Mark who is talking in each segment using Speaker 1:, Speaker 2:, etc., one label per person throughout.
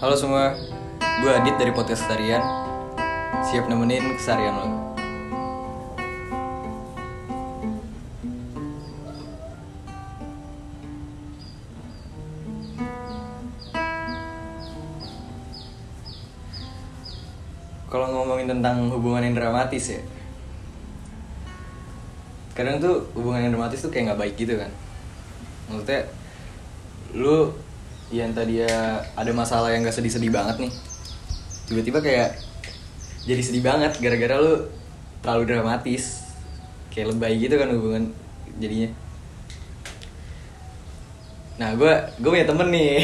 Speaker 1: Halo semua, gue Adit dari Podcast Kesarian Siap nemenin kesarian lo Kalau ngomongin tentang hubungan yang dramatis ya Kadang tuh hubungan yang dramatis tuh kayak nggak baik gitu kan Maksudnya lu yang tadi ya ada masalah yang gak sedih-sedih banget nih tiba-tiba kayak jadi sedih banget gara-gara lu terlalu dramatis kayak lebay gitu kan hubungan jadinya nah gue gue punya temen nih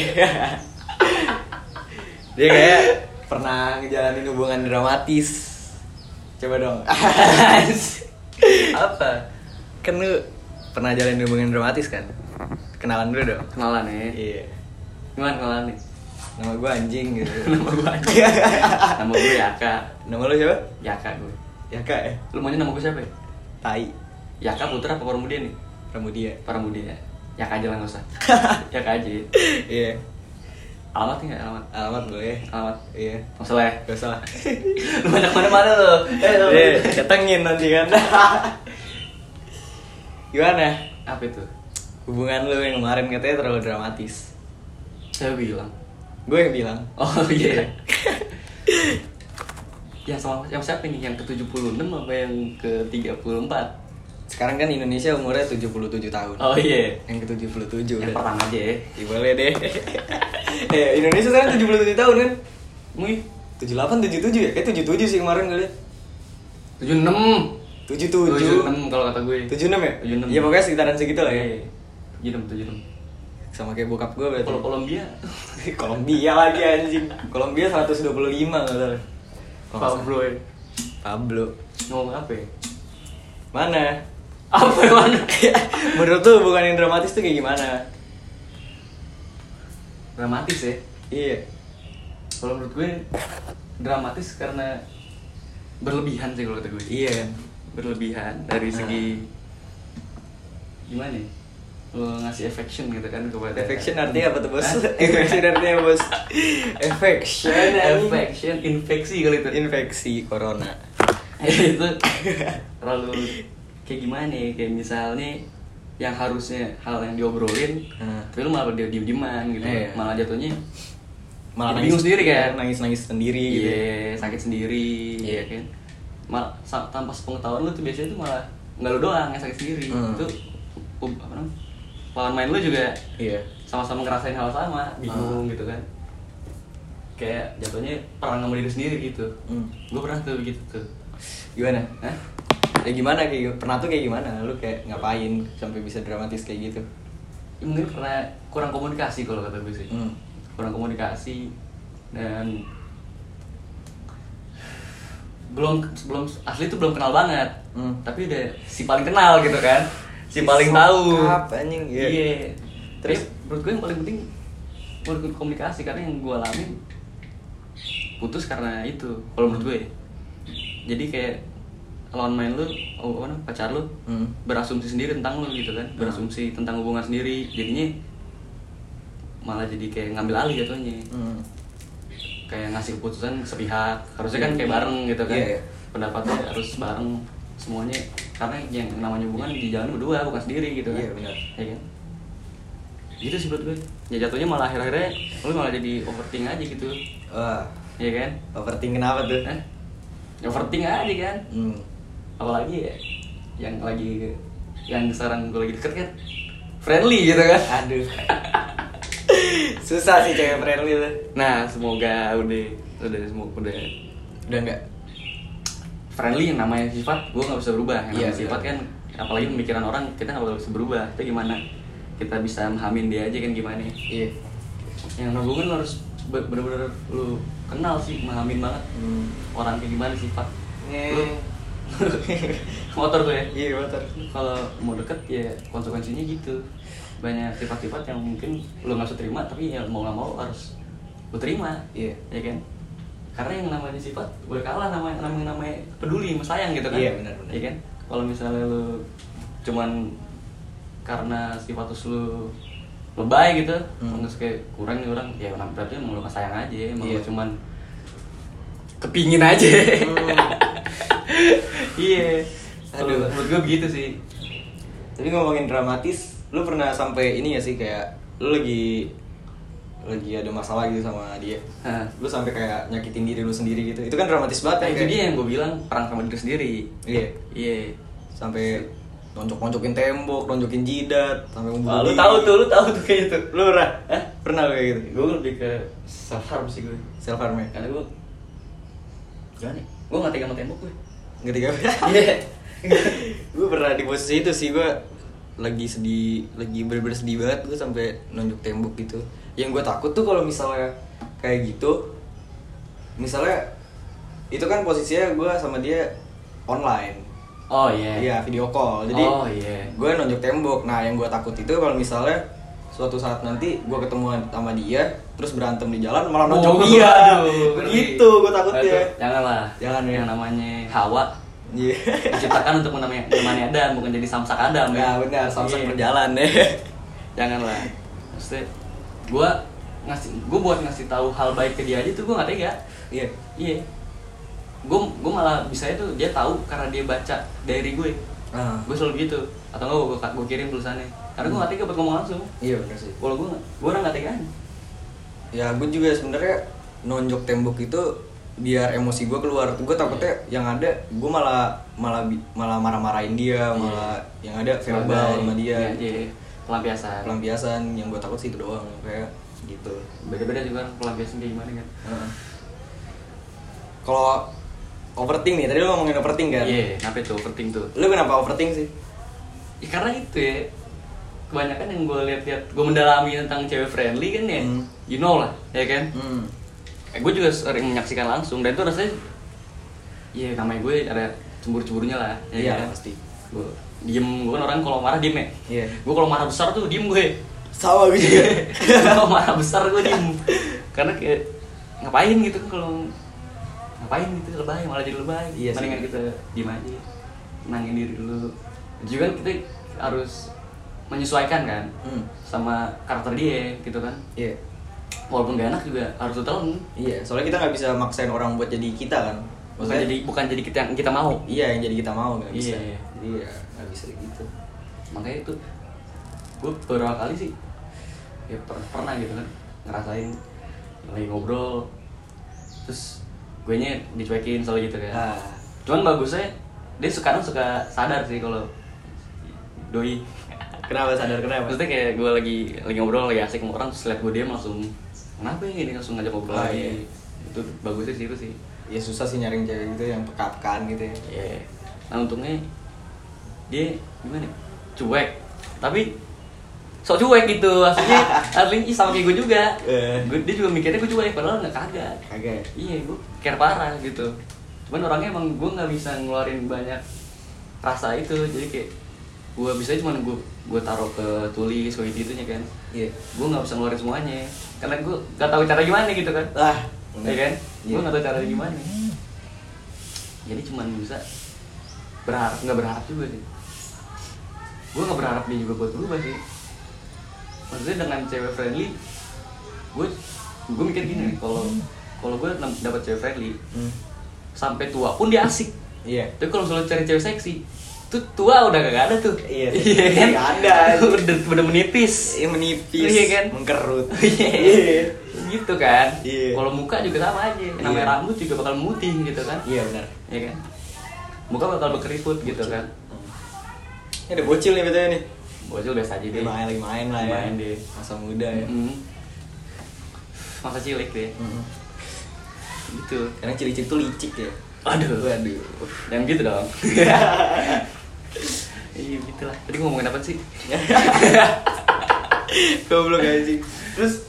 Speaker 1: dia kayak pernah ngejalanin hubungan dramatis coba dong
Speaker 2: apa
Speaker 1: kan lu pernah jalanin hubungan dramatis kan kenalan dulu dong
Speaker 2: kenalan ya
Speaker 1: iya
Speaker 2: gimana kenalan nih
Speaker 1: nama gue anjing gitu
Speaker 2: Iya, nama gue aja nama gue Yaka
Speaker 1: nama lu siapa
Speaker 2: Yaka eh. gue
Speaker 1: ya kak ya
Speaker 2: lu maunya nama gue siapa ya?
Speaker 1: tai
Speaker 2: Yaka Putra apa Pramudia nih
Speaker 1: Pramudia
Speaker 2: Pramudia Yaka aja lah nggak usah Yaka aja ya.
Speaker 1: iya
Speaker 2: alamat nggak alamat
Speaker 1: alamat boleh
Speaker 2: alamat
Speaker 1: iya
Speaker 2: nggak salah ya
Speaker 1: gak salah
Speaker 2: lu banyak mana mana lo eh lu-
Speaker 1: iya datengin nanti kan gimana
Speaker 2: apa itu
Speaker 1: hubungan lu yang kemarin katanya terlalu dramatis
Speaker 2: saya bilang
Speaker 1: gue yang bilang
Speaker 2: oh iya ya sama yang siapa nih yang ke 76 apa yang ke 34
Speaker 1: sekarang kan Indonesia umurnya 77 tahun
Speaker 2: oh iya
Speaker 1: yang ke 77
Speaker 2: yang
Speaker 1: udah.
Speaker 2: pertama aja ya
Speaker 1: Ih, boleh deh eh, Indonesia sekarang 77 tahun kan
Speaker 2: Mui
Speaker 1: 78, 77 ya? Eh 77 sih kemarin kali
Speaker 2: 76
Speaker 1: 77
Speaker 2: 76 kalau kata gue Iya,
Speaker 1: 76 ya?
Speaker 2: 76.
Speaker 1: Ya pokoknya sekitaran segitu lah ya
Speaker 2: 76 76
Speaker 1: Sama kayak bokap gue berarti
Speaker 2: kalau Kolombia
Speaker 1: Kolombia lagi anjing. Kolombia 125 enggak salah. Kalau nggak salah.
Speaker 2: Pablo ya
Speaker 1: Pablo.
Speaker 2: ngomong apa ya
Speaker 1: Mana?
Speaker 2: apa yang mana
Speaker 1: Menurut tuh bukan yang dramatis tuh kayak gimana?
Speaker 2: dramatis ya
Speaker 1: Iya.
Speaker 2: kalau menurut gue dramatis karena berlebihan sih kalau kata gue
Speaker 1: Iya Ah. kan.
Speaker 2: berlebihan dari segi gimana ya lo ngasih affection gitu kan kepada
Speaker 1: Affection artinya apa tuh, Bos?
Speaker 2: Hah?
Speaker 1: Affection artinya apa, Bos? Affection. anjing.
Speaker 2: affection infeksi kali itu
Speaker 1: Infeksi corona. Iya.
Speaker 2: itu terlalu kayak gimana ya kayak misalnya yang harusnya hal yang diobrolin
Speaker 1: Hmm.
Speaker 2: tapi lu malah dia diem dieman gitu
Speaker 1: Iya.
Speaker 2: malah jatuhnya
Speaker 1: Malah
Speaker 2: Jadi bingung sendiri kan?
Speaker 1: Nangis-nangis sendiri
Speaker 2: iya
Speaker 1: gitu.
Speaker 2: sakit sendiri
Speaker 1: Iya.
Speaker 2: ya kan malah sa- tanpa sepengetahuan lu tuh biasanya tuh malah nggak lu doang yang sakit sendiri
Speaker 1: Hmm.
Speaker 2: itu um, apa namanya lawan main lu juga
Speaker 1: Iya.
Speaker 2: sama-sama ngerasain hal sama bingung gitu kan kayak jatuhnya perang sama diri sendiri gitu
Speaker 1: Hmm.
Speaker 2: gue pernah tuh begitu tuh
Speaker 1: Gimana?
Speaker 2: Hah?
Speaker 1: Ya gimana kayak pernah tuh kayak gimana? Lu kayak ngapain sampai bisa dramatis kayak gitu?
Speaker 2: Ya, mungkin karena kurang komunikasi kalau kata gue sih
Speaker 1: Hmm.
Speaker 2: kurang komunikasi dan belum belum asli itu belum kenal banget
Speaker 1: Hmm.
Speaker 2: tapi udah si paling kenal gitu kan si paling tahu
Speaker 1: Sokap, anjing, iya.
Speaker 2: iya
Speaker 1: Terus?
Speaker 2: terus menurut gue yang paling penting menurut komunikasi karena yang gue alami putus karena itu kalau menurut
Speaker 1: Hmm.
Speaker 2: gue jadi kayak lawan main lu oh, apa namanya, pacar lu
Speaker 1: Hmm.
Speaker 2: berasumsi sendiri tentang lu gitu kan berasumsi tentang hubungan sendiri jadinya malah jadi kayak ngambil alih jatuhnya
Speaker 1: Hmm.
Speaker 2: kayak ngasih keputusan sepihak harusnya kan kayak bareng gitu kan
Speaker 1: Iya, iya.
Speaker 2: pendapatnya harus bareng semuanya karena yang namanya hubungan di jalan berdua bukan sendiri gitu kan
Speaker 1: Iya, benar.
Speaker 2: Iya kan gitu sih menurut gue ya jatuhnya malah akhir-akhirnya lu malah jadi overthink aja gitu
Speaker 1: Wah,
Speaker 2: ya kan
Speaker 1: overthinking kenapa tuh?
Speaker 2: Hah? overthink aja kan
Speaker 1: Hmm.
Speaker 2: apalagi ya yang lagi yang sekarang gue lagi deket kan friendly gitu kan
Speaker 1: Aduh. Susah sih cewek friendly tuh.
Speaker 2: nah semoga udah udah semoga udah
Speaker 1: Udah enggak?
Speaker 2: friendly yang namanya sifat gue nggak bisa berubah yang
Speaker 1: Iya,
Speaker 2: namanya sifat
Speaker 1: betul.
Speaker 2: kan apalagi pemikiran orang kita nggak bakal bisa berubah itu gimana kita bisa memahamin dia aja kan gimana ya.
Speaker 1: Iya.
Speaker 2: yang menurut gue kan lu harus be- bener-bener lu kenal sih memahamin banget
Speaker 1: Hmm.
Speaker 2: orang kayak gimana sifat
Speaker 1: Nge. Eh.
Speaker 2: motor tuh ya
Speaker 1: Iya, motor.
Speaker 2: kalau mau deket ya konsekuensinya gitu banyak sifat-sifat yang mungkin lo nggak bisa terima tapi ya mau nggak mau harus lo terima
Speaker 1: Iya.
Speaker 2: ya kan karena yang namanya sifat udah kalah namanya namanya, namanya peduli sama sayang gitu kan
Speaker 1: Iya, benar, benar.
Speaker 2: ya kan kalau misalnya lo cuman karena sifat terus lo lebay gitu
Speaker 1: Hmm.
Speaker 2: terus kayak kurang nih orang ya orang berarti emang lu kesayang aja emang lu
Speaker 1: Iya.
Speaker 2: cuman kepingin aja
Speaker 1: Hmm.
Speaker 2: iya
Speaker 1: Oh. Aduh.
Speaker 2: aduh menurut gue begitu sih
Speaker 1: Tapi ngomongin dramatis, lu pernah sampai ini ya sih kayak lu lagi lagi ada masalah gitu sama dia.
Speaker 2: Hah.
Speaker 1: Lu sampai kayak nyakitin diri lu sendiri gitu. Itu kan dramatis banget
Speaker 2: nah,
Speaker 1: ya,
Speaker 2: itu
Speaker 1: kayak-
Speaker 2: dia yang gue bilang perang sama diri sendiri
Speaker 1: Iya.
Speaker 2: iya
Speaker 1: Sampai nonjok-nonjokin tembok, nonjokin jidat, sampai
Speaker 2: Wah, lu
Speaker 1: diri.
Speaker 2: tahu tuh, lu tahu tuh kayak gitu.
Speaker 1: Lu pernah?
Speaker 2: Hah?
Speaker 1: Pernah lu kayak gitu?
Speaker 2: Gue lebih ke self harm sih gue.
Speaker 1: Self harm ya?
Speaker 2: Karena gue Gak nih, gue gak tega sama tembok gue
Speaker 1: Ngerti gak?
Speaker 2: Iya
Speaker 1: gue pernah di posisi itu sih gue lagi sedih lagi bener-bener sedih banget gue sampai nunjuk tembok gitu yang gue takut tuh kalau misalnya kayak gitu misalnya itu kan posisinya gue sama dia online
Speaker 2: Oh iya
Speaker 1: Iya video call. Jadi
Speaker 2: Oh, iya.
Speaker 1: gue nonjok tembok. Nah yang gue takut itu kalau misalnya suatu saat nanti gue ketemu sama dia terus berantem di jalan malah nonjok
Speaker 2: Oh,
Speaker 1: dia.
Speaker 2: aduh, ngeri.
Speaker 1: Begitu gue takutnya.
Speaker 2: Aduh, Gitu Janganlah
Speaker 1: Jangan, ya.
Speaker 2: Yang namanya hawa
Speaker 1: Iya.
Speaker 2: Diciptakan untuk menemani, menemani Adam, bukan jadi samsak Adam
Speaker 1: Nah benar samsak
Speaker 2: Iya.
Speaker 1: berjalan ya.
Speaker 2: Janganlah Maksudnya, gue ngasih, gue buat ngasih tahu hal baik ke dia aja tuh gue gak tega
Speaker 1: Iya.
Speaker 2: Iya Gue gue malah bisa itu dia tahu karena dia baca diary gue
Speaker 1: Ah,
Speaker 2: Gue selalu gitu Atau enggak gue, gue kirim tulisannya Karena gue gak tega buat ngomong langsung
Speaker 1: iya benar sih.
Speaker 2: Walau gue, gue orang gak tegaan
Speaker 1: Ya gue juga sebenarnya nonjok tembok itu biar emosi gue keluar. Gue takutnya yang ada gue malah malah bi- malah marah-marahin dia,
Speaker 2: Iya.
Speaker 1: malah yang ada verbal sama dia.
Speaker 2: Iya, iya. Pelampiasan
Speaker 1: pelampiasan yang gue takut sih itu doang kayak gitu
Speaker 2: Beda-beda juga orang pelampiasan kayak gimana kan
Speaker 1: Heeh. kalau overthink nih tadi lu ngomongin overthink kan
Speaker 2: Iya, kenapa itu penting tuh
Speaker 1: lu kenapa overthink sih
Speaker 2: Ya karena itu ya Kebanyakan yang gue lihat-lihat Gue mendalami tentang cewek friendly kan ya
Speaker 1: Hmm.
Speaker 2: You know lah, ya kan
Speaker 1: hmm.
Speaker 2: eh, Gue juga sering menyaksikan langsung Dan itu rasanya Iya, namanya gue ada cemburu-cemburunya lah
Speaker 1: iya
Speaker 2: kan?
Speaker 1: pasti
Speaker 2: Gue diem, gue kan orang kalau marah diem ya
Speaker 1: Iya. Oh,
Speaker 2: Gue kalau marah besar tuh diem gue
Speaker 1: sama gue juga
Speaker 2: kalau marah besar gue diem karena kayak ngapain gitu kan kalau ngapain gitu lebay malah jadi lebay
Speaker 1: Iya sih.
Speaker 2: mendingan kita diem aja tenangin diri dulu juga kan kita harus menyesuaikan kan
Speaker 1: Hmm.
Speaker 2: sama karakter dia gitu kan
Speaker 1: iya
Speaker 2: walaupun gak enak juga harus ditelan
Speaker 1: iya soalnya kita nggak bisa maksain orang buat jadi kita kan
Speaker 2: bukan
Speaker 1: Maksudnya-
Speaker 2: jadi bukan jadi kita yang kita mau
Speaker 1: iya yang jadi kita mau nggak bisa
Speaker 2: Iya.
Speaker 1: jadi ya nggak bisa gitu
Speaker 2: makanya itu gue beberapa kali sih ya per- pernah gitu kan ngerasain lagi ngobrol terus gue nya dicuekin soal gitu kan
Speaker 1: Ah.
Speaker 2: cuman bagusnya dia sekarang suka sadar sih kalau doi
Speaker 1: kenapa sadar kenapa
Speaker 2: maksudnya kayak gue lagi lagi ngobrol lagi asik sama orang terus liat gue dia langsung kenapa ya ini langsung ngajak ngobrol
Speaker 1: Ah,
Speaker 2: lagi
Speaker 1: iya.
Speaker 2: itu bagusnya sih itu sih
Speaker 1: ya susah sih nyaring cewek gitu yang peka-pekaan gitu ya
Speaker 2: Iya. Nah untungnya dia gimana? ya? Cuek. Tapi sok cuek gitu. Aslinya aslinya ih, sama kayak gue juga.
Speaker 1: Eh.
Speaker 2: Gue- dia juga mikirnya gue cuek padahal nggak kagak.
Speaker 1: kagak ya?
Speaker 2: Iya, gue care parah gitu. Cuman orangnya emang gue nggak bisa ngeluarin banyak rasa itu. Jadi kayak gue bisa cuman gue gue taruh ke tulis kayak gitu nya kan.
Speaker 1: iya
Speaker 2: Gue nggak bisa ngeluarin semuanya. Karena gue nggak tahu cara gimana gitu kan.
Speaker 1: lah
Speaker 2: Iya kan?
Speaker 1: Ah, Iya.
Speaker 2: Gue gak tau caranya gimana Jadi cuman bisa Berharap, gak berharap juga sih Gue gak berharap dia juga buat berubah sih Maksudnya dengan cewek friendly Gue gue mikir gini nih, kalau kalau gue nem- dapet cewek friendly
Speaker 1: Hmm.
Speaker 2: sampai tua pun dia asik
Speaker 1: iya
Speaker 2: tapi kalau misalnya cari cewek seksi tuh tua udah gak ada tuh
Speaker 1: Iya,
Speaker 2: kan
Speaker 1: gak ada.
Speaker 2: udah, udah menipis
Speaker 1: Iya menipis,
Speaker 2: Iya kan?
Speaker 1: mengkerut.
Speaker 2: Iya. gitu kan
Speaker 1: Iya.
Speaker 2: kalau muka juga sama aja namanya
Speaker 1: Iya.
Speaker 2: rambut juga bakal putih gitu kan
Speaker 1: Iya benar.
Speaker 2: ya kan muka bakal berkeriput gitu kan
Speaker 1: Ini ada bocil nih betulnya nih.
Speaker 2: bocil biasa aja
Speaker 1: Dia
Speaker 2: deh
Speaker 1: main lagi main lah ya.
Speaker 2: Main deh.
Speaker 1: Masa muda ya.
Speaker 2: Mm. masa cilik deh
Speaker 1: Mm-mm. Hmm.
Speaker 2: gitu
Speaker 1: Karena ciri-ciri tuh licik ya.
Speaker 2: aduh
Speaker 1: Waduh.
Speaker 2: yang gitu dong iya gitulah tadi gua ngomongin apa sih
Speaker 1: Goblok anjing. Terus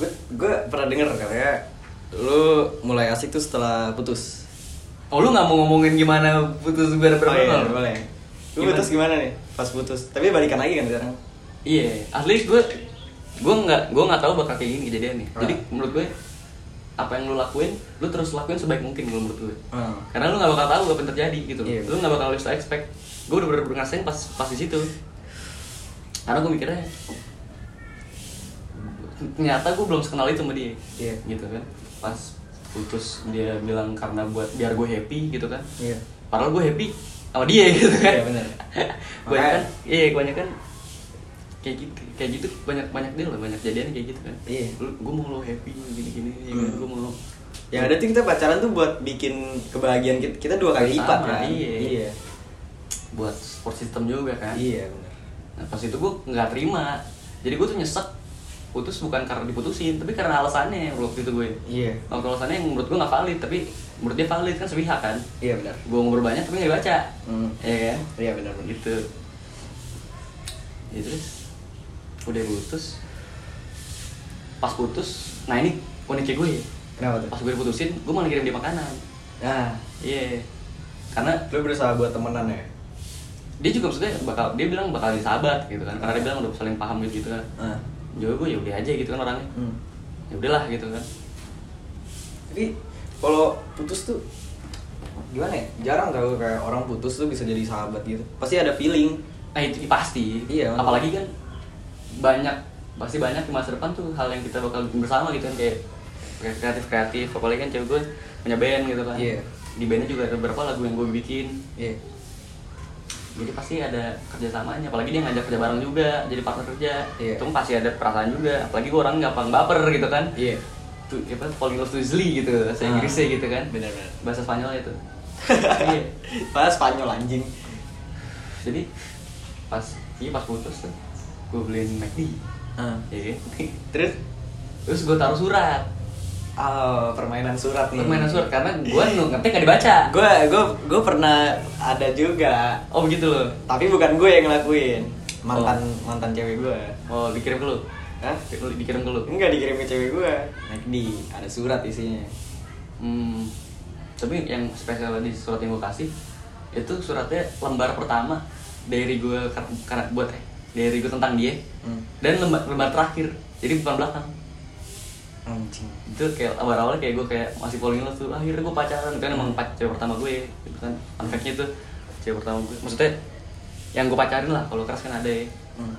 Speaker 1: gue gue pernah denger katanya lu mulai asik tuh setelah putus.
Speaker 2: oh lu nggak mau ngomongin gimana putus biar
Speaker 1: Oh, iya,
Speaker 2: berapa
Speaker 1: boleh. Lu
Speaker 2: Gimana?
Speaker 1: putus gimana nih? Pas putus. Tapi balikan lagi kan sekarang.
Speaker 2: Iya, asli gue gue nggak gue nggak tahu bakal kayak gini kejadian nih. Jadi
Speaker 1: Right.
Speaker 2: menurut gue apa yang lu lakuin, lu terus lakuin sebaik mungkin kalau menurut gue.
Speaker 1: Hmm.
Speaker 2: Karena lu nggak bakal tahu apa yang terjadi gitu. loh.
Speaker 1: Iya.
Speaker 2: Lu nggak bakal bisa expect. Gue udah bener-bener ngerasain pas pas di situ. karena gue mikirnya ternyata gue belum sekenal itu sama dia
Speaker 1: Iya.
Speaker 2: gitu kan pas putus dia bilang karena buat biar gue happy gitu kan
Speaker 1: Iya.
Speaker 2: padahal gue happy sama dia gitu kan
Speaker 1: Iya, bener.
Speaker 2: banyak kan
Speaker 1: Makanya-
Speaker 2: iya banyak kan kayak gitu kayak gitu banyak banyak deal lah banyak jadian kayak gitu kan
Speaker 1: Iya.
Speaker 2: lu gue mau lo happy gini gini ya
Speaker 1: Hmm.
Speaker 2: kan? gue mau lo
Speaker 1: Yang Ya, ada tuh kita pacaran tuh buat bikin kebahagiaan kita, kita dua kali lipat kan.
Speaker 2: Sama, iya.
Speaker 1: Iya.
Speaker 2: buat support system juga kan
Speaker 1: Iya, benar.
Speaker 2: nah pas itu gue nggak terima jadi gue tuh nyesek putus bukan karena diputusin tapi karena alasannya yang waktu itu gue
Speaker 1: Iya.
Speaker 2: waktu alasannya yang menurut gue nggak valid tapi menurut dia valid kan sepihak kan
Speaker 1: Iya benar.
Speaker 2: gue ngobrol banyak tapi nggak dibaca
Speaker 1: Hmm.
Speaker 2: ya kan
Speaker 1: Iya benar benar.
Speaker 2: gitu ya terus udah putus pas putus nah ini uniknya gue ya
Speaker 1: Kenapa tuh?
Speaker 2: pas gue diputusin gue malah kirim dia makanan
Speaker 1: Nah,
Speaker 2: iya karena
Speaker 1: lu berusaha buat temenan ya?
Speaker 2: dia juga maksudnya bakal dia bilang bakal jadi sahabat gitu kan karena dia bilang udah saling paham gitu kan
Speaker 1: Nah.
Speaker 2: juga gue ya udah aja gitu kan orangnya
Speaker 1: Hmm.
Speaker 2: ya udahlah gitu kan
Speaker 1: Tapi kalau putus tuh gimana ya? Jarang tau kayak orang putus tuh bisa jadi sahabat gitu. Pasti ada feeling.
Speaker 2: nah itu pasti
Speaker 1: Iya.
Speaker 2: apalagi kan banyak pasti banyak di masa depan tuh hal yang kita bakal bersama gitu kan kayak kreatif kreatif apalagi kan cewek gue punya band gitu kan
Speaker 1: Iya.
Speaker 2: di bandnya juga ada beberapa lagu yang gue bikin
Speaker 1: Iya.
Speaker 2: jadi pasti ada kerjasamanya apalagi dia ngajak kerja bareng juga jadi partner kerja
Speaker 1: Iya.
Speaker 2: itu pasti ada perasaan juga apalagi gue orang gampang baper gitu kan
Speaker 1: Iya.
Speaker 2: tuh apa falling love too easily gitu bahasa
Speaker 1: Ah.
Speaker 2: Inggrisnya gitu kan
Speaker 1: Benar-benar.
Speaker 2: bahasa Spanyol itu iya
Speaker 1: Padahal Spanyol anjing.
Speaker 2: jadi pas iya pas putus tuh gue beliin McD
Speaker 1: Ah.
Speaker 2: ya kan?
Speaker 1: Terus
Speaker 2: terus gue taruh surat
Speaker 1: ah, permainan surat nih.
Speaker 2: permainan surat karena gue ngetik gak dibaca
Speaker 1: Gue gue gue pernah ada juga,
Speaker 2: oh begitu loh
Speaker 1: tapi bukan gue yang ngelakuin. Mantan mantan cewek gue.
Speaker 2: oh dikirim ke lu
Speaker 1: Hah?
Speaker 2: Lu- dikirim ke lu
Speaker 1: Enggak dikirim ke cewek gue. Di ada surat isinya.
Speaker 2: hmm. tapi yang spesial di surat yang gue kasih itu suratnya lembar pertama dari gue karena buat eh, dari gue tentang dia
Speaker 1: Hmm.
Speaker 2: dan lembar lembar terakhir jadi bukan belakang
Speaker 1: Anjing.
Speaker 2: itu kayak awal awalnya kayak gue kayak masih falling in love tuh "Ah, akhirnya gue pacaran kan emang pac- cewek pertama gue gitu kan fun fact-nya tuh cewek pertama gue maksudnya yang gue pacarin lah kalau keras kan ada ya
Speaker 1: Hmm.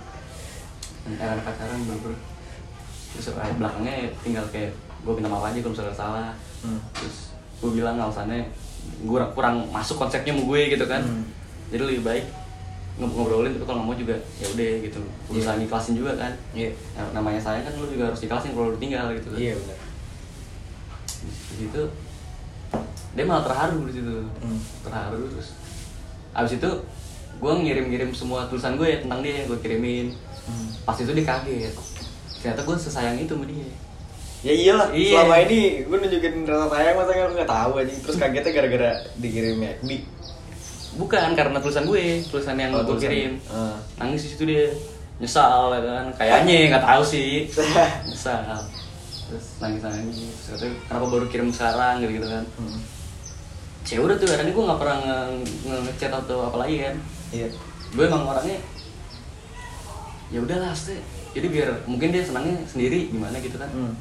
Speaker 2: yang karena pacaran bro, bro. terus eh, belakangnya ya tinggal kayak gue minta maaf aja kalau misalnya salah
Speaker 1: Hmm.
Speaker 2: terus gue bilang alasannya gue kurang, kurang masuk konsepnya sama gue gitu kan
Speaker 1: Hmm.
Speaker 2: jadi lebih baik ngob- ngobrolin tapi kalau nggak mau juga ya udah gitu berusaha ikhlasin juga kan
Speaker 1: Iya.
Speaker 2: Nah, namanya sayang kan lu juga harus ikhlasin kalau lu tinggal gitu kan
Speaker 1: Iya benar.
Speaker 2: di situ dia malah terharu di situ
Speaker 1: Hmm.
Speaker 2: terharu terus abis itu gue ngirim-ngirim semua tulisan gue tentang dia gue kirimin
Speaker 1: Hmm.
Speaker 2: pas itu dia kaget ternyata gue sesayang itu sama dia
Speaker 1: Ya iyalah,
Speaker 2: Iya.
Speaker 1: selama ini gue nunjukin rasa sayang masa kan nggak tahu aja terus kagetnya gara-gara dikirim ya, McD.
Speaker 2: bukan karena tulisan gue tulisan yang
Speaker 1: Oh,
Speaker 2: gue
Speaker 1: tulisan.
Speaker 2: kirim
Speaker 1: Ah.
Speaker 2: nangis di situ dia nyesal ya kan kayaknya nggak tahu sih nyesal terus nangis nangis terus katanya, kenapa baru kirim sekarang gitu gitu kan
Speaker 1: Hmm.
Speaker 2: cewek udah tuh karena gue nggak pernah nge- nge- ngechat atau apa lagi kan
Speaker 1: Iya.
Speaker 2: gue emang orangnya ya udahlah sih jadi biar mungkin dia senangnya sendiri gimana gitu kan
Speaker 1: Hmm.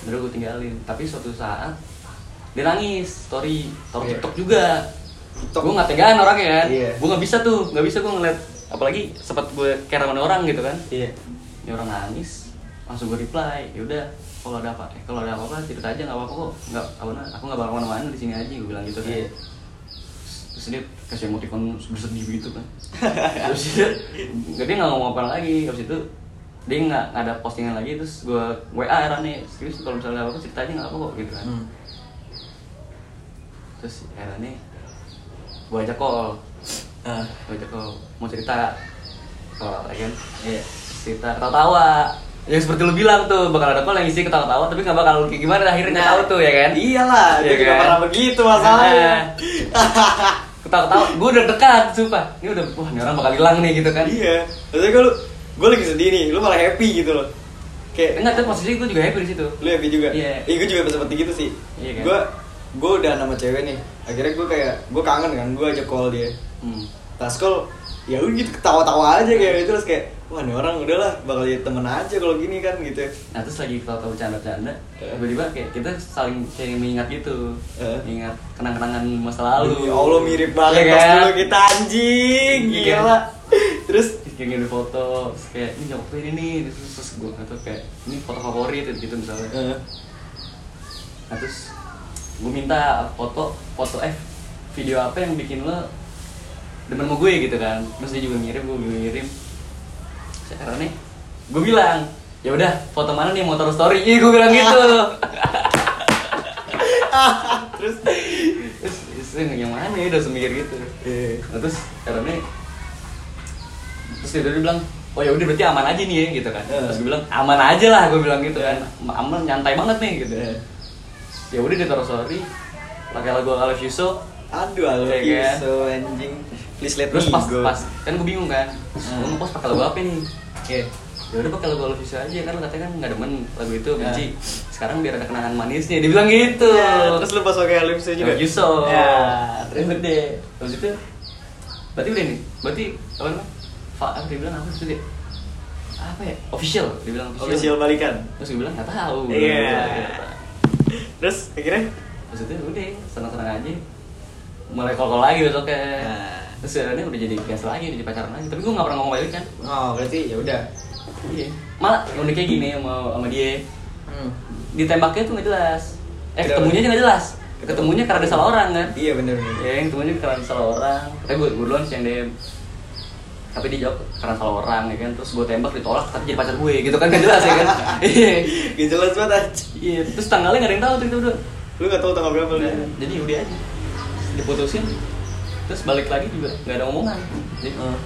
Speaker 2: Terus gue tinggalin tapi suatu saat dia nangis story story
Speaker 1: Iya.
Speaker 2: tiktok juga
Speaker 1: TikTok.
Speaker 2: gue nggak tegaan orangnya kan
Speaker 1: Iya.
Speaker 2: gue nggak bisa tuh nggak bisa gue ngeliat apalagi sempat gue care sama orang gitu kan
Speaker 1: Iya.
Speaker 2: ini orang nangis langsung gue reply yaudah kalau ada apa eh, kalau ada apa apa cerita aja nggak apa apa kok nggak apa aku nggak bakal mana-mana di sini aja gue bilang gitu kan
Speaker 1: Iya.
Speaker 2: terus dia kasih emoticon bersedih gitu kan terus dia nggak dia nggak ngomong apa lagi terus itu dia nggak nggak ada postingan lagi terus gue wa erane terus kalau misalnya apa apa cerita aja nggak apa kok gitu kan
Speaker 1: Hmm.
Speaker 2: terus erane gue ajak call
Speaker 1: Ah.
Speaker 2: gue ajak call oh, mau cerita kalau lagi kan
Speaker 1: Iya.
Speaker 2: cerita ketawa-tawa ya seperti lu bilang tuh bakal ada call yang isi ketawa-tawa tapi nggak bakal kayak gimana akhirnya nggak tahu tuh ya kan
Speaker 1: Iyalah, dia
Speaker 2: Iya
Speaker 1: juga
Speaker 2: kan? Ah.
Speaker 1: pernah begitu masalahnya.
Speaker 2: ketawa-tawa gue udah dekat sumpah ini udah wah ini orang bakal hilang nih gitu kan
Speaker 1: iya. Maksudnya gue lu, gue lagi sedih nih, lu malah happy gitu loh. Kayak
Speaker 2: enggak tuh posisi gue juga happy di situ
Speaker 1: lu happy juga
Speaker 2: Iya.
Speaker 1: gue juga seperti gitu sih
Speaker 2: Iya kan?
Speaker 1: gue gue udah nama cewek nih akhirnya gue kayak gue kangen kan gue ajak call dia
Speaker 2: hmm.
Speaker 1: pas call ya udah gitu ketawa-tawa aja kayak gitu terus kayak wah ini orang udahlah bakal jadi temen aja kalau gini kan gitu
Speaker 2: nah terus lagi ketawa-tawa bercanda-bercanda
Speaker 1: Eh.
Speaker 2: tiba-tiba kayak kita saling saling mengingat gitu
Speaker 1: Eh.
Speaker 2: mengingat kenang-kenangan masa lalu
Speaker 1: Demi Allah mirip banget gitu.
Speaker 2: Iya
Speaker 1: pas
Speaker 2: kan?
Speaker 1: dulu kita anjing
Speaker 2: Iya
Speaker 1: gila
Speaker 2: kan?
Speaker 1: terus
Speaker 2: Terus yang ini foto terus kayak ini nyokap gue ini nih terus, terus gue kata kayak ini foto favorit gitu misalnya
Speaker 1: Eh,
Speaker 2: nah, terus gue minta foto foto eh video apa yang bikin lo demen sama gue gitu kan terus dia juga ngirim gue juga ngirim sekarang nih gue bilang ya udah foto mana nih yang mau taruh story Ih, gue bilang gitu terus terus, terus yang mana ya udah semikir gitu
Speaker 1: eh.
Speaker 2: Nah, terus karena terus dia tadi bilang oh ya udah berarti aman aja nih ya gitu kan
Speaker 1: Iya.
Speaker 2: terus gue bilang aman aja lah gue bilang gitu kan aman nyantai banget nih gitu
Speaker 1: Iya.
Speaker 2: ya udah dia taruh sorry pakai lagu I Love You So
Speaker 1: Aduh, I love
Speaker 2: Iya
Speaker 1: you
Speaker 2: kan?
Speaker 1: so anjing. Please let
Speaker 2: terus
Speaker 1: me
Speaker 2: pas
Speaker 1: go.
Speaker 2: pas kan gue bingung kan terus
Speaker 1: Hmm. Iya.
Speaker 2: gue mau post pakai lagu apa nih
Speaker 1: Oke.
Speaker 2: ya udah pakai lagu I Love You So aja kan lo katanya kan nggak demen lagu itu
Speaker 1: Iya.
Speaker 2: benci sekarang biar ada kenangan manisnya dia bilang gitu
Speaker 1: Ya, terus lu pas pakai I love you so juga.
Speaker 2: Love Oh, you so.
Speaker 1: Ya,
Speaker 2: terus
Speaker 1: terus
Speaker 2: deh. Terus itu berarti udah nih. Berarti apa namanya? Fa apa dia bilang apa itu dia? Apa ya? Official, dia bilang official.
Speaker 1: official balikan.
Speaker 2: Terus gue bilang enggak tahu.
Speaker 1: Iya. Terus akhirnya
Speaker 2: Terus itu udah senang-senang aja. Mulai kol-kol lagi besoknya.
Speaker 1: Nah.
Speaker 2: Terus akhirnya udah jadi gas lagi, udah jadi pacaran lagi. Tapi gue gak pernah ngomong balik kan.
Speaker 1: Oh, berarti ya udah.
Speaker 2: Iya. Malah yang uniknya gini sama sama dia.
Speaker 1: Hmm.
Speaker 2: Ditembaknya tuh gak jelas. Eh
Speaker 1: Kenapa?
Speaker 2: ketemunya aja gak jelas. Ketemunya karena ada salah orang kan.
Speaker 1: Iya bener bener.
Speaker 2: Ya, yang temennya karena salah orang. Tapi gue gue duluan sih yang DM. Tapi dia jawab karena salah orang ya kan. Terus gue tembak ditolak tapi jadi pacar gue gitu kan gak jelas ya kan. Iya.
Speaker 1: Gak jelas banget anjing.
Speaker 2: Iya, terus tanggalnya gak ada yang tahu tuh itu udah.
Speaker 1: Lu gak tau tanggal berapa lu.
Speaker 2: Nah, jadi udah aja. Diputusin. Terus balik lagi juga gak ada omongan. Jadi
Speaker 1: Heeh.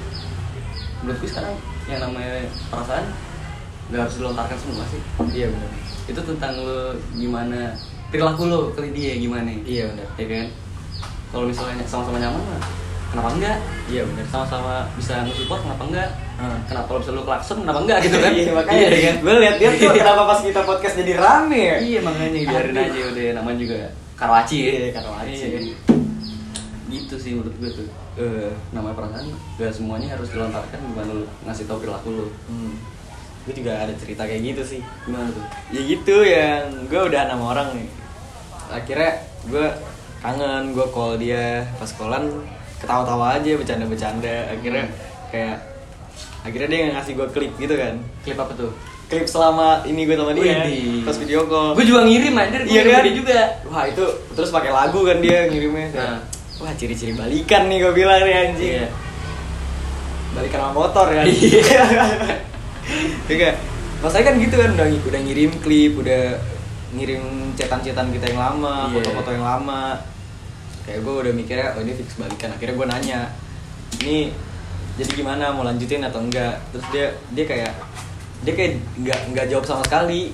Speaker 2: menurut gue sekarang yang namanya perasaan gak harus dilontarkan semua sih.
Speaker 1: Iya bener.
Speaker 2: Itu tentang lo gimana perilaku lo ke dia gimana.
Speaker 1: Iya bener.
Speaker 2: Ya kan. Kalau misalnya sama-sama nyaman mah kenapa enggak?
Speaker 1: Iya bener.
Speaker 2: sama-sama bisa nge-support kenapa enggak
Speaker 1: Hmm.
Speaker 2: kenapa kalau bisa lu klakson kenapa enggak gitu kan
Speaker 1: Iya makanya.
Speaker 2: iya kan
Speaker 1: Gue liat dia tuh kenapa pas kita podcast jadi rame ya.
Speaker 2: iya makanya biarin
Speaker 1: Aduh.
Speaker 2: aja udah namanya juga karwaci ya
Speaker 1: Iya, Karawaci.
Speaker 2: Iya, kan? gitu sih menurut gue tuh
Speaker 1: Eh.
Speaker 2: namanya perasaan gak semuanya harus dilontarkan gimana lu ngasih tau perilaku lu
Speaker 1: Hmm. Gue juga ada cerita kayak gitu sih.
Speaker 2: gimana tuh
Speaker 1: ya gitu yang gue udah enam orang nih akhirnya gue kangen gue call dia pas callan ketawa-tawa aja bercanda-bercanda akhirnya
Speaker 2: Hmm.
Speaker 1: kayak akhirnya dia ngasih gue klip gitu kan
Speaker 2: klip apa tuh
Speaker 1: klip selama ini gue sama dia
Speaker 2: Widih.
Speaker 1: pas video call
Speaker 2: Iya. gue juga ngirim anjir gue
Speaker 1: Iya
Speaker 2: ngirim
Speaker 1: kan?
Speaker 2: ke dia juga
Speaker 1: wah itu terus pakai lagu kan dia ngirimnya kayak,
Speaker 2: Nah.
Speaker 1: wah ciri-ciri balikan nih gue bilang nih anjing
Speaker 2: Iya.
Speaker 1: balikan sama motor kan
Speaker 2: Iya.
Speaker 1: juga mas saya kan gitu kan udah udah ngirim klip udah ngirim cetan-cetan kita yang lama
Speaker 2: Iya.
Speaker 1: foto-foto yang lama kayak gue udah mikirnya oh ini fix balikan akhirnya gue nanya ini jadi gimana mau lanjutin atau enggak terus dia dia kayak dia kayak nggak nggak jawab sama sekali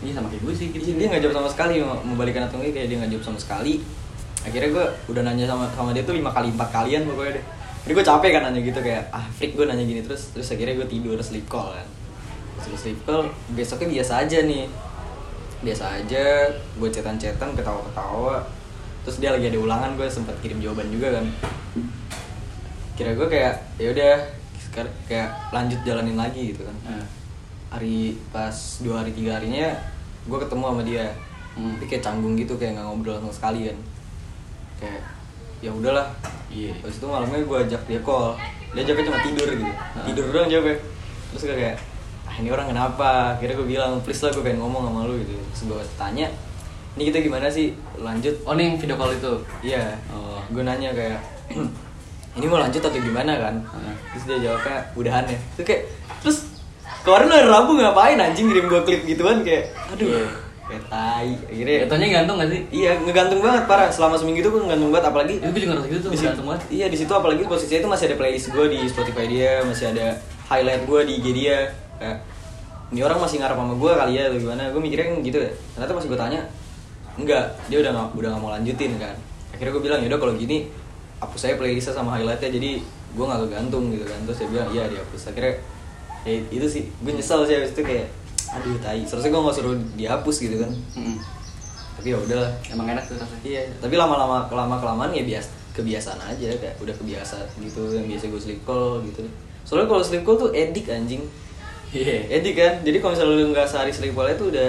Speaker 2: iya sama kayak gue sih gitu
Speaker 1: Iya, dia nggak jawab sama sekali mau mau balikan atau enggak kayak dia nggak jawab sama sekali akhirnya gue udah nanya sama sama dia tuh lima kali empat kalian pokoknya deh jadi gue capek kan nanya gitu kayak ah freak gue nanya gini terus terus akhirnya gue tidur sleep call kan terus sleep call besoknya biasa aja nih biasa aja gue cetan cetan ketawa ketawa terus dia lagi ada ulangan gue sempat kirim jawaban juga kan kira gue kayak ya udah sekar- kayak lanjut jalanin lagi gitu kan
Speaker 2: Nah,
Speaker 1: hari pas dua hari tiga harinya gue ketemu sama dia
Speaker 2: Hmm.
Speaker 1: tapi kayak canggung gitu kayak nggak ngobrol sama sekali kan kayak ya udahlah
Speaker 2: Iya.
Speaker 1: terus itu malamnya gue ajak dia call dia jawabnya cuma tidur gitu tidur doang jawabnya terus gue kayak ah ini orang kenapa akhirnya gue bilang please lah gue pengen ngomong sama lu gitu terus gue tanya ini kita gimana sih lanjut
Speaker 2: oh nih yang video call itu
Speaker 1: Iya.
Speaker 2: Oh.
Speaker 1: Gue nanya kayak ini mau lanjut atau gimana kan?
Speaker 2: Heeh.
Speaker 1: Terus dia jawabnya udahan ya. Terus kayak terus kemarin lu hari Rabu ngapain anjing ngirim gue klip gituan kayak aduh.
Speaker 2: Iya.
Speaker 1: Kayak tai. Akhirnya
Speaker 2: jatuhnya gantung gak sih
Speaker 1: iya ngegantung banget parah selama seminggu itu gue ngegantung banget apalagi
Speaker 2: itu gue juga ngerasa gitu tuh
Speaker 1: di situ
Speaker 2: gantung banget
Speaker 1: iya di situ apalagi posisinya itu masih ada playlist gue di Spotify dia masih ada highlight gue di IG dia kayak ini orang masih ngarep sama gue kali ya atau gimana gue mikirnya kan gitu ya ternyata pas gue tanya enggak dia udah nggak udah nggak mau lanjutin kan akhirnya gue bilang yaudah kalau gini hapus saya playlistnya sama highlightnya jadi gue nggak kegantung gitu kan terus dia bilang iya dihapus akhirnya ya itu sih gue nyesel sih abis itu kayak aduh tai seharusnya gue nggak suruh dihapus gitu kan
Speaker 2: Mm-mm.
Speaker 1: tapi ya udahlah
Speaker 2: emang enak tuh rasanya
Speaker 1: Iya, tapi lama-lama lama kelamaan ya bias kebiasaan aja kayak udah kebiasaan gitu yang biasa gue sleep call gitu. Soalnya kalau sleep call tuh edik anjing. Eh,
Speaker 2: Iya.
Speaker 1: Edik kan. Jadi kalau misalnya lu nggak sehari sleep call itu udah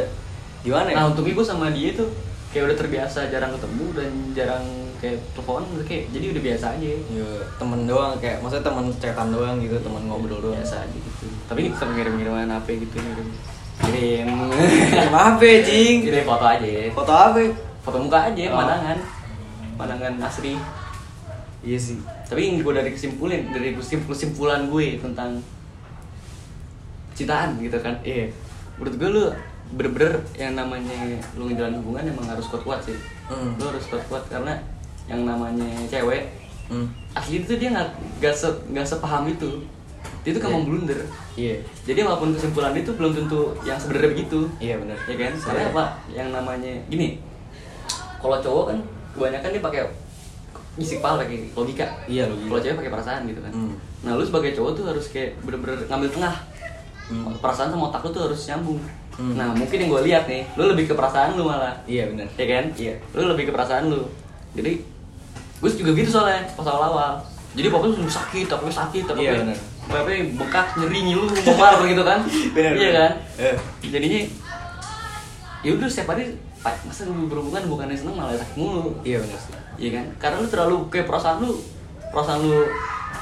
Speaker 1: gimana ya?
Speaker 2: Nah untungnya gue Nah, sama dia tuh kayak udah terbiasa jarang ketemu dan jarang kayak telepon kayak jadi udah biasa aja
Speaker 1: Yo, Iya, temen doang kayak maksudnya temen cetan doang gitu, temen ngobrol doang.
Speaker 2: biasa aja gitu tapi ini tetap ngirim ngiriman apa gitu ngirim ngirim
Speaker 1: Maaf ya, Cing.
Speaker 2: ngirim foto aja
Speaker 1: Eh, Foto apa?
Speaker 2: foto muka aja
Speaker 1: Oh.
Speaker 2: pandangan pandangan asli
Speaker 1: Iya sih.
Speaker 2: tapi yang gue dari kesimpulan dari kesim- kesimpulan gue tentang citaan gitu kan
Speaker 1: Iya.
Speaker 2: menurut gue lu bener-bener yang namanya lu ngejalanin hubungan emang harus kuat-kuat sih
Speaker 1: Hmm.
Speaker 2: lu harus kuat-kuat karena yang namanya cewek
Speaker 1: Hmm.
Speaker 2: asli itu dia nggak nggak se- nggak sepaham itu dia tuh gampang
Speaker 1: Iya.
Speaker 2: blunder
Speaker 1: Iya.
Speaker 2: jadi apapun kesimpulan itu belum tentu yang sebenarnya begitu
Speaker 1: Iya benar.
Speaker 2: ya kan soalnya apa yang namanya gini kalau cowok kan kebanyakan dia pakai isi kepala pakai logika
Speaker 1: Iya, logika.
Speaker 2: kalau cewek pakai perasaan gitu kan
Speaker 1: Hmm.
Speaker 2: nah lu sebagai cowok tuh harus kayak bener-bener ngambil tengah
Speaker 1: Hmm.
Speaker 2: perasaan sama otak lu tuh harus nyambung
Speaker 1: Hmm.
Speaker 2: nah mungkin yang gue lihat nih lu lebih ke perasaan lu malah
Speaker 1: Iya benar.
Speaker 2: ya kan
Speaker 1: Iya.
Speaker 2: lu lebih ke perasaan lu jadi gue juga gitu soalnya pas awal awal jadi pokoknya langsung sakit tapi sakit tapi
Speaker 1: Iya, benar.
Speaker 2: tapi bekas nyeri nyilu memar gitu kan
Speaker 1: Benar,
Speaker 2: iya
Speaker 1: benar.
Speaker 2: kan
Speaker 1: Iya.
Speaker 2: jadinya ya udah setiap hari pa- masa lu berhubungan bukannya seneng malah sakit mulu
Speaker 1: Iya benar sih.
Speaker 2: iya kan karena lu terlalu kayak perasaan lu perasaan lu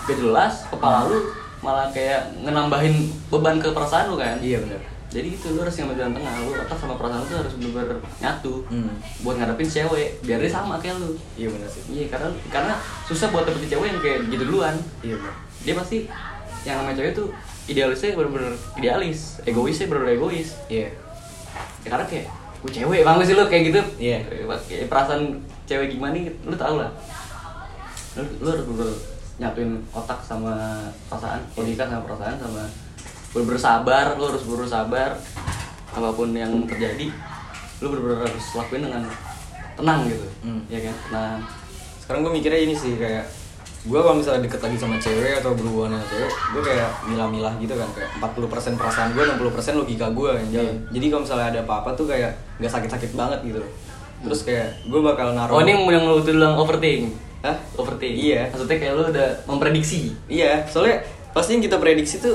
Speaker 2: gak jelas kepala lu malah kayak ngenambahin beban ke perasaan lu kan
Speaker 1: Iya benar.
Speaker 2: jadi gitu lu harus ngambil jalan tengah lu otak sama perasaan lu tuh harus bener-bener nyatu
Speaker 1: Hmm.
Speaker 2: buat ngadepin cewek biar dia sama kayak lu
Speaker 1: Iya benar sih.
Speaker 2: iya karena karena susah buat dapetin cewek yang kayak gitu duluan
Speaker 1: Iya benar.
Speaker 2: dia pasti yang namanya cewek tuh idealisnya bener-bener idealis egoisnya bener-bener egois
Speaker 1: Iya.
Speaker 2: ya, karena kayak gue cewek bang sih lu kayak gitu
Speaker 1: Iya.
Speaker 2: Kayak perasaan cewek gimana lu tau lah lu, lu harus bener nyatuin otak sama perasaan logika sama perasaan sama bener sabar lu harus bener sabar apapun yang terjadi lu bener harus lakuin dengan tenang gitu
Speaker 1: Hmm.
Speaker 2: ya kan tenang
Speaker 1: Sekarang gue mikirnya ini sih kayak gue kalau misalnya deket lagi sama cewek atau berhubungan sama cewek, gue kayak milah-milah gitu kan kayak 40% perasaan gue, 60% logika gue yang
Speaker 2: Iya.
Speaker 1: jalan. Jadi kalau misalnya ada apa-apa tuh kayak gak sakit-sakit banget gitu. loh. Terus kayak gue bakal naruh.
Speaker 2: Hmm. oh ini yang yang lu bilang overthink
Speaker 1: Hah?
Speaker 2: overthink
Speaker 1: Iya.
Speaker 2: maksudnya kayak lu udah memprediksi
Speaker 1: Iya, soalnya pasti yang kita prediksi tuh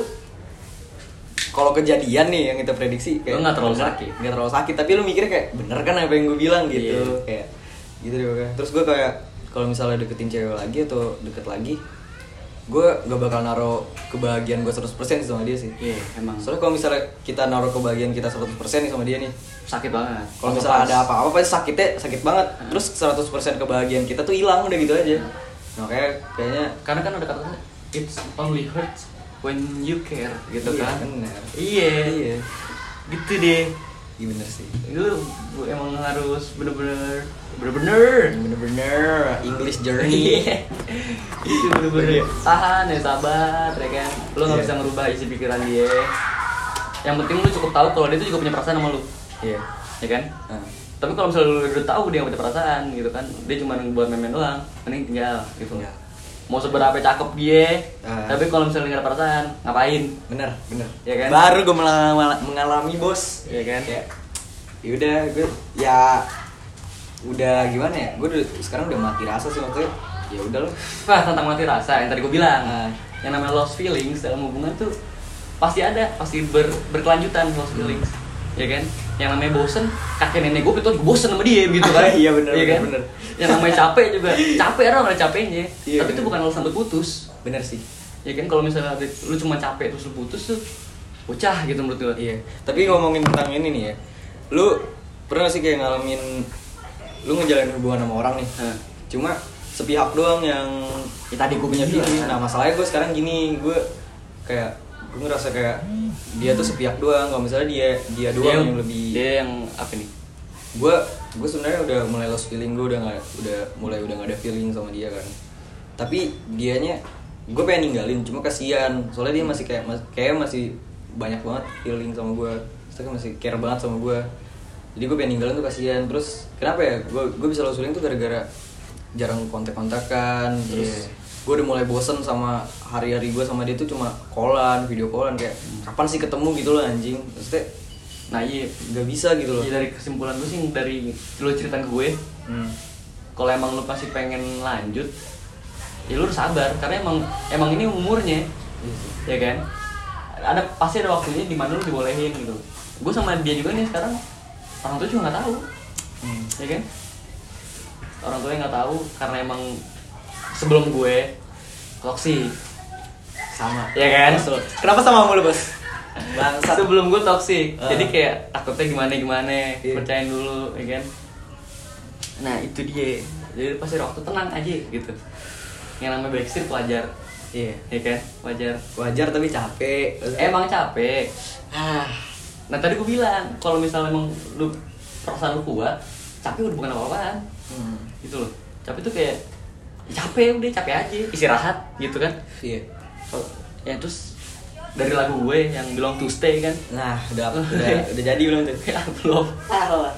Speaker 1: kalau kejadian nih yang kita prediksi kayak
Speaker 2: Lu nggak terlalu
Speaker 1: bener-
Speaker 2: sakit.
Speaker 1: nggak terlalu sakit tapi lu mikirnya kayak bener kan apa yang gue bilang gitu
Speaker 2: Iya.
Speaker 1: kayak gitu deh pokoknya. terus gue kayak kalau misalnya deketin cewek lagi atau deket lagi gue gak bakal naro kebahagiaan gue 100% sih sama dia sih
Speaker 2: iya emang
Speaker 1: soalnya kalau misalnya kita naro kebahagiaan kita 100% nih sama dia nih
Speaker 2: sakit banget
Speaker 1: kalau misalnya
Speaker 2: Pas-
Speaker 1: ada apa-apa pasti sakitnya sakit banget terus 100% kebahagiaan kita tuh hilang udah gitu aja Nah, kayak kayaknya
Speaker 2: karena kan ada kata it's only hurts when you care gitu
Speaker 1: Iya,
Speaker 2: kan
Speaker 1: bener.
Speaker 2: iya
Speaker 1: Iya.
Speaker 2: gitu deh
Speaker 1: iya bener sih
Speaker 2: lu bu- emang harus bener-bener bener-bener
Speaker 1: bener-bener English journey
Speaker 2: Iya. itu bener-bener
Speaker 1: Iya.
Speaker 2: tahan ya sabar ya kan lu nggak
Speaker 1: Iya.
Speaker 2: bisa ngerubah isi pikiran dia yang penting lu cukup tahu kalau dia tuh juga punya perasaan sama lu
Speaker 1: iya
Speaker 2: ya kan
Speaker 1: Ah,
Speaker 2: tapi kalau misalnya lu udah tahu dia punya perasaan gitu kan dia cuma buat main-main doang mending tinggal gitu
Speaker 1: Tinggal.
Speaker 2: mau seberapa cakep dia
Speaker 1: Iya. Ah.
Speaker 2: tapi kalau misalnya nggak ada perasaan ngapain
Speaker 1: bener bener
Speaker 2: Iya kan?
Speaker 1: baru gue mengalami bos
Speaker 2: Iya kan?
Speaker 1: ya yaudah gue ya udah gimana ya gue udah, sekarang udah mati rasa sih maksudnya ya udah loh
Speaker 2: Wah, tentang mati rasa yang tadi gue bilang.
Speaker 1: Ah.
Speaker 2: Yang namanya lost feelings dalam hubungan tuh pasti ada, pasti ber, berkelanjutan lost
Speaker 1: Hmm.
Speaker 2: feelings. Ya kan? Yang namanya bosen, kakek nenek gue itu bosen sama dia gitu kan.
Speaker 1: Iya, bener,
Speaker 2: kan?
Speaker 1: bener, bener.
Speaker 2: Yang namanya capek juga, capek orang ada capeknya.
Speaker 1: Iya,
Speaker 2: Tapi itu
Speaker 1: bener.
Speaker 2: bukan alasan buat putus.
Speaker 1: bener sih
Speaker 2: Ya kan kalau misalnya lu cuma capek terus lu putus tuh pecah gitu menurut gue.
Speaker 1: iya tapi ngomongin tentang ini nih ya lu pernah gak sih kayak ngalamin lu ngejalanin hubungan sama orang nih
Speaker 2: Hah.
Speaker 1: cuma sepihak doang yang
Speaker 2: Ya, tadi gua
Speaker 1: punya
Speaker 2: bilang.
Speaker 1: feeling. nah masalahnya gue sekarang gini gue kayak gue ngerasa kayak dia tuh sepihak doang kalau misalnya dia dia doang yang lebih
Speaker 2: dia yang apa nih?
Speaker 1: gue gue sebenarnya udah mulai lost feeling gue udah nggak udah mulai udah nggak ada feeling sama dia kan tapi dianya gue pengen ninggalin cuma kasihan soalnya dia masih kayak mas- kayak masih banyak banget feeling sama gue Maksudnya kayak masih care banget sama gue jadi gue pengen ninggalin tuh kasihan terus kenapa ya gue gue bisa lost feeling tuh gara-gara jarang kontak-kontakan terus
Speaker 2: Iya.
Speaker 1: gue udah mulai bosen sama hari-hari gue sama dia tuh cuma callan video callan kayak kapan sih ketemu gitu loh anjing maksudnya
Speaker 2: Nah, iya.
Speaker 1: nggak bisa gitu loh
Speaker 2: Iya, dari kesimpulan gue sih dari lu cerita ke gue,
Speaker 1: Hmm.
Speaker 2: kalau emang lu pasti pengen lanjut ya lu harus sabar karena emang emang ini umurnya
Speaker 1: Iya.
Speaker 2: ya kan ada pasti ada waktunya di mana lu dibolehin gitu gue sama dia juga nih sekarang orang tua juga nggak tahu
Speaker 3: Hmm.
Speaker 2: ya kan orang tuanya nggak tahu karena emang sebelum gue toksik
Speaker 1: sama
Speaker 2: ya kan So,
Speaker 1: kenapa sama mulu bos bangsat
Speaker 2: sebelum gue toksik
Speaker 1: Ah.
Speaker 2: jadi kayak takutnya gimana gimana
Speaker 3: Iya.
Speaker 2: percayain dulu ya kan nah itu dia jadi pasti waktu tenang aja gitu yang namanya backstreet wajar
Speaker 1: iya
Speaker 2: ya kan wajar
Speaker 1: wajar tapi capek
Speaker 2: emang capek
Speaker 1: ah
Speaker 2: nah tadi gue bilang kalau misalnya emang lu perasaan lu kuat capek udah bukan apa-apaan
Speaker 1: hmm.
Speaker 2: gitu loh capek tuh kayak ya capek udah capek aja istirahat gitu kan
Speaker 1: iya
Speaker 2: Oh, ya terus dari lagu gue yang bilang to stay kan
Speaker 1: nah udah udah, udah jadi belum tuh
Speaker 2: ya belum
Speaker 1: Alah.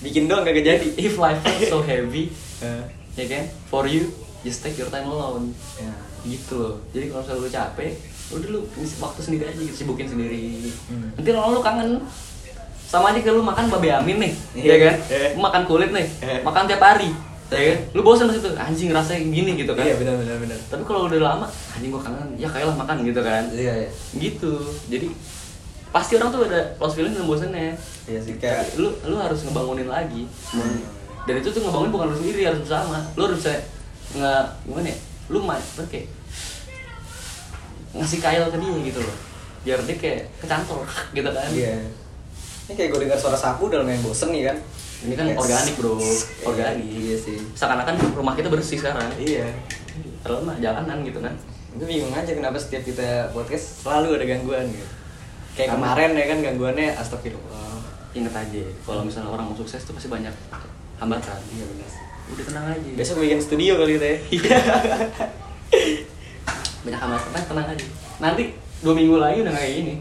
Speaker 1: bikin doang kagak jadi
Speaker 2: if life was so heavy
Speaker 1: Eh,
Speaker 2: ya kan for you just take your time alone
Speaker 1: ya.
Speaker 2: gitu loh jadi kalau misalnya lu capek udah lu ngisi waktu sendiri aja gitu, sibukin sendiri
Speaker 1: Hmm.
Speaker 2: nanti lama lu kangen sama aja kayak lu makan babe amin nih
Speaker 1: Iya.
Speaker 2: ya kan
Speaker 1: Iya.
Speaker 2: Lu makan kulit nih
Speaker 1: Iya.
Speaker 2: makan tiap hari
Speaker 1: Iya.
Speaker 2: ya kan lu bosan di situ anjing rasanya gini gitu kan
Speaker 1: iya benar benar benar
Speaker 2: tapi kalau udah lama anjing gua kangen ya kayalah makan gitu kan
Speaker 1: iya iya
Speaker 2: gitu jadi pasti orang tuh ada lost feeling dan bosannya
Speaker 1: iya sih kayak Hmm.
Speaker 2: lu lu harus ngebangunin lagi dan itu tuh ngebangun bukan lu sendiri harus bersama lu harus bisa nge gimana ya lu mah kayak ngasih kail ke dia gitu loh biar dia kayak kecantol gitu kan
Speaker 1: iya ini kayak gue dengar suara sapu udah lumayan bosen nih kan
Speaker 2: ini kan
Speaker 1: Yes.
Speaker 2: organik bro organik
Speaker 1: iya sih
Speaker 2: seakan-akan rumah kita bersih sekarang
Speaker 1: iya
Speaker 2: kalau mah jalanan gitu kan
Speaker 1: gue bingung aja kenapa setiap kita podcast selalu ada gangguan gitu kayak
Speaker 2: Karena-
Speaker 1: kemarin ya kan gangguannya astagfirullah
Speaker 2: inget aja kalau misalnya orang mau sukses tuh pasti banyak hambatan
Speaker 1: iya benar sih
Speaker 2: udah tenang aja
Speaker 1: besok bikin studio kali kita ya
Speaker 2: Iya. banyak hambatan tenang, tenang aja nanti dua minggu lagi udah kayak gini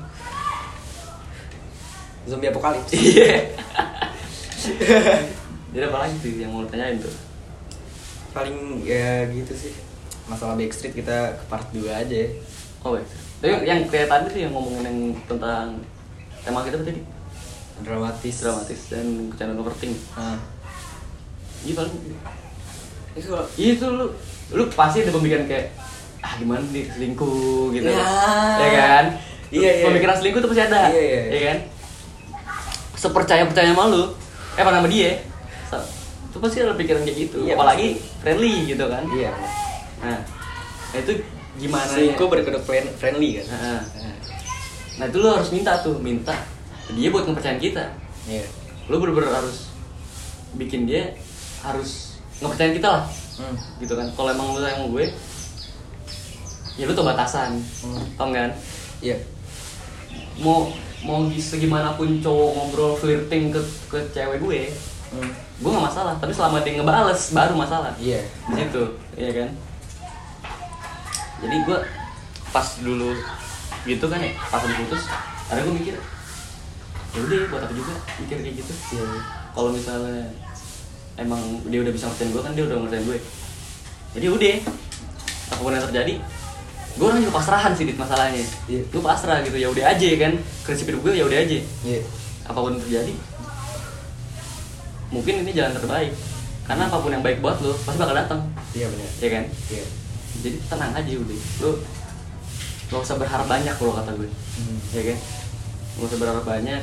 Speaker 1: zombie apokalips
Speaker 2: Iya. Jadi apa lagi tuh yang mau lu tanyain tuh?
Speaker 1: paling ya gitu sih masalah backstreet kita ke part 2 aja ya.
Speaker 2: Oh baik. Tapi yang kayak tadi tuh yang ngomongin yang tentang tema kita apa tadi
Speaker 1: dramatis
Speaker 2: dramatis dan kecanduan overting.
Speaker 1: nah.
Speaker 2: Iya paling.
Speaker 1: itu kalau
Speaker 2: Iya itu lu lu pasti ada pemikiran kayak ah gimana nih selingkuh gitu.
Speaker 1: Ya.
Speaker 2: Ya kan?
Speaker 1: Iya, iya.
Speaker 2: Pemikiran selingkuh tuh pasti ada.
Speaker 1: Iya, iya.
Speaker 2: Ya kan? Sepercaya percaya sama lu, eh apa nama dia? Itu pasti ada pikiran kayak gitu.
Speaker 1: Iya,
Speaker 2: Apalagi friendly gitu kan.
Speaker 1: iya
Speaker 2: Nah, nah itu gimana
Speaker 1: selingkuh
Speaker 2: ya?
Speaker 1: berkedok friend- friendly kan
Speaker 2: Nah, nah itu lo harus minta tuh, minta dia buat ngepercayain kita.
Speaker 1: iya
Speaker 2: Lo bener-bener harus bikin dia harus ngepercayain kita lah,
Speaker 1: Hmm.
Speaker 2: gitu kan. Kalau emang lo sayang sama gue, ya lo tau batasan,
Speaker 1: Hmm.
Speaker 2: tau kan?
Speaker 1: iya
Speaker 2: Mau mau gi- segimanapun cowok ngobrol flirting ke ke cewek gue,
Speaker 1: Hmm.
Speaker 2: gue gak masalah. Tapi selama dia ngebales baru masalah.
Speaker 1: iya
Speaker 2: di situ iya kan jadi gue pas dulu gitu kan ya pas udah putus ada gue mikir ya udah ya, buat apa juga mikir kayak gitu
Speaker 1: iya
Speaker 2: kalau misalnya emang dia udah bisa ngertiin gue kan dia udah ngertiin gue jadi udah apapun yang terjadi gue orang juga pasrahan sih dit masalahnya
Speaker 1: Iya.
Speaker 2: gue pasrah gitu ya udah aja kan prinsip hidup gue ya udah aja
Speaker 1: iya
Speaker 2: apapun yang terjadi mungkin ini jalan terbaik karena apapun yang baik buat lo pasti bakal datang
Speaker 1: iya benar
Speaker 2: ya kan
Speaker 1: iya
Speaker 2: jadi tenang aja udah lo gak usah berharap banyak kalau kata gue
Speaker 1: Hmm.
Speaker 2: ya kan gak usah berharap banyak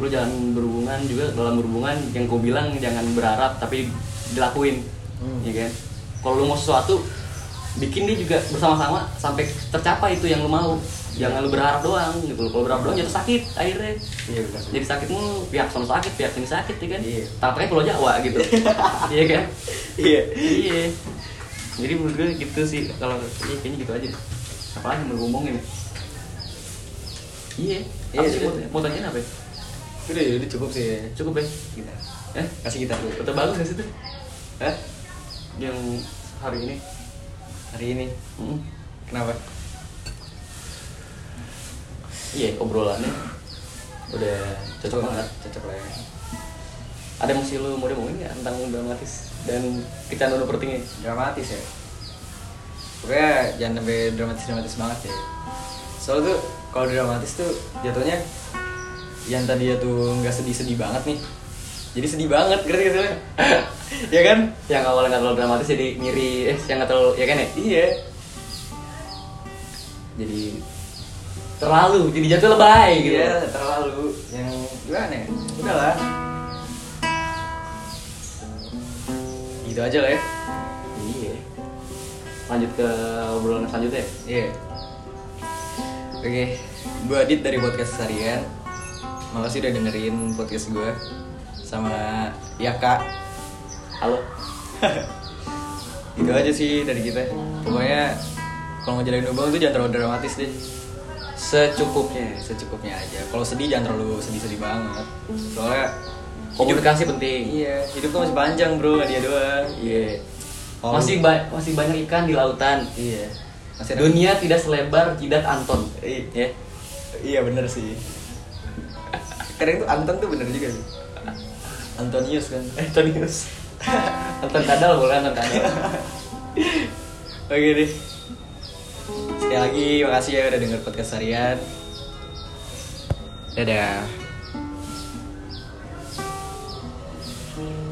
Speaker 2: lo jangan berhubungan juga dalam berhubungan yang gue bilang jangan berharap tapi dilakuin
Speaker 1: Hmm.
Speaker 2: ya kan kalau lo mau sesuatu bikin dia juga bersama-sama sampai tercapai itu yang lo mau jangan lo berharap doang gitu lo kalau berharap doang jatuh sakit akhirnya
Speaker 1: iya benar
Speaker 2: jadi sakit mulu pihak sono sakit pihak sini sakit ya kan
Speaker 1: Iya.
Speaker 2: Tampaknya pulau Jawa gitu iya kan
Speaker 1: iya
Speaker 2: iya jadi menurut gue gitu sih kalau iya kayaknya gitu aja apalagi mau ngomongin ya? iya
Speaker 1: Iya,
Speaker 2: apa sih
Speaker 1: iya.
Speaker 2: mau, mau tanyain apa ya?
Speaker 1: udah ya, udah cukup sih ya.
Speaker 2: cukup ya
Speaker 1: kita
Speaker 2: eh
Speaker 1: kasih kita dulu
Speaker 2: kata bagus gak sih tuh
Speaker 1: Hah?
Speaker 2: yang hari ini
Speaker 1: hari ini
Speaker 2: Hmm.
Speaker 1: kenapa
Speaker 2: iya obrolannya udah cocok banget
Speaker 1: cocok lah ya.
Speaker 2: ada yang masih lu mau ngomongin nggak tentang dramatis dan kecanduan overthinkingnya
Speaker 1: dramatis ya pokoknya jangan sampai dramatis dramatis banget ya soalnya tuh kalau dramatis tuh jatuhnya yang tadi tuh nggak sedih sedih banget nih jadi sedih banget ngerti gak sih lo? ya kan
Speaker 2: yang awalnya nggak terlalu dramatis jadi ngiri eh yang nggak terlalu ya kan ya
Speaker 1: iya
Speaker 2: jadi terlalu jadi jatuh lebay gitu
Speaker 1: iya terlalu yang gimana ya udahlah segitu aja lah ya
Speaker 2: Iya. Lanjut ke obrolan selanjutnya. ya?
Speaker 1: iya oke gue Adit dari podcast Sarian makasih udah dengerin podcast gue sama ya kak
Speaker 2: Halo.
Speaker 1: itu aja sih dari kita pokoknya kalau mau jalanin hubungan tuh jangan terlalu dramatis deh secukupnya secukupnya aja kalau sedih jangan terlalu sedih-sedih banget soalnya
Speaker 2: Komunikasi penting.
Speaker 1: iya hidup tuh masih panjang bro gak dia doang
Speaker 2: Iya.
Speaker 1: Kalau-
Speaker 2: Masih ba- masih banyak ikan di lautan.
Speaker 1: iya masih ada
Speaker 2: Dunia tidak selebar jidat Anton.
Speaker 1: Iya.
Speaker 2: Ya.
Speaker 1: Iya bener sih. Kadang tuh Anton tuh bener juga sih. Antonius kan.
Speaker 2: Antonius. Anton Kadal boleh Anton Kadal.
Speaker 1: Oke deh. Sekali lagi makasih ya udah denger podcast harian. Dadah.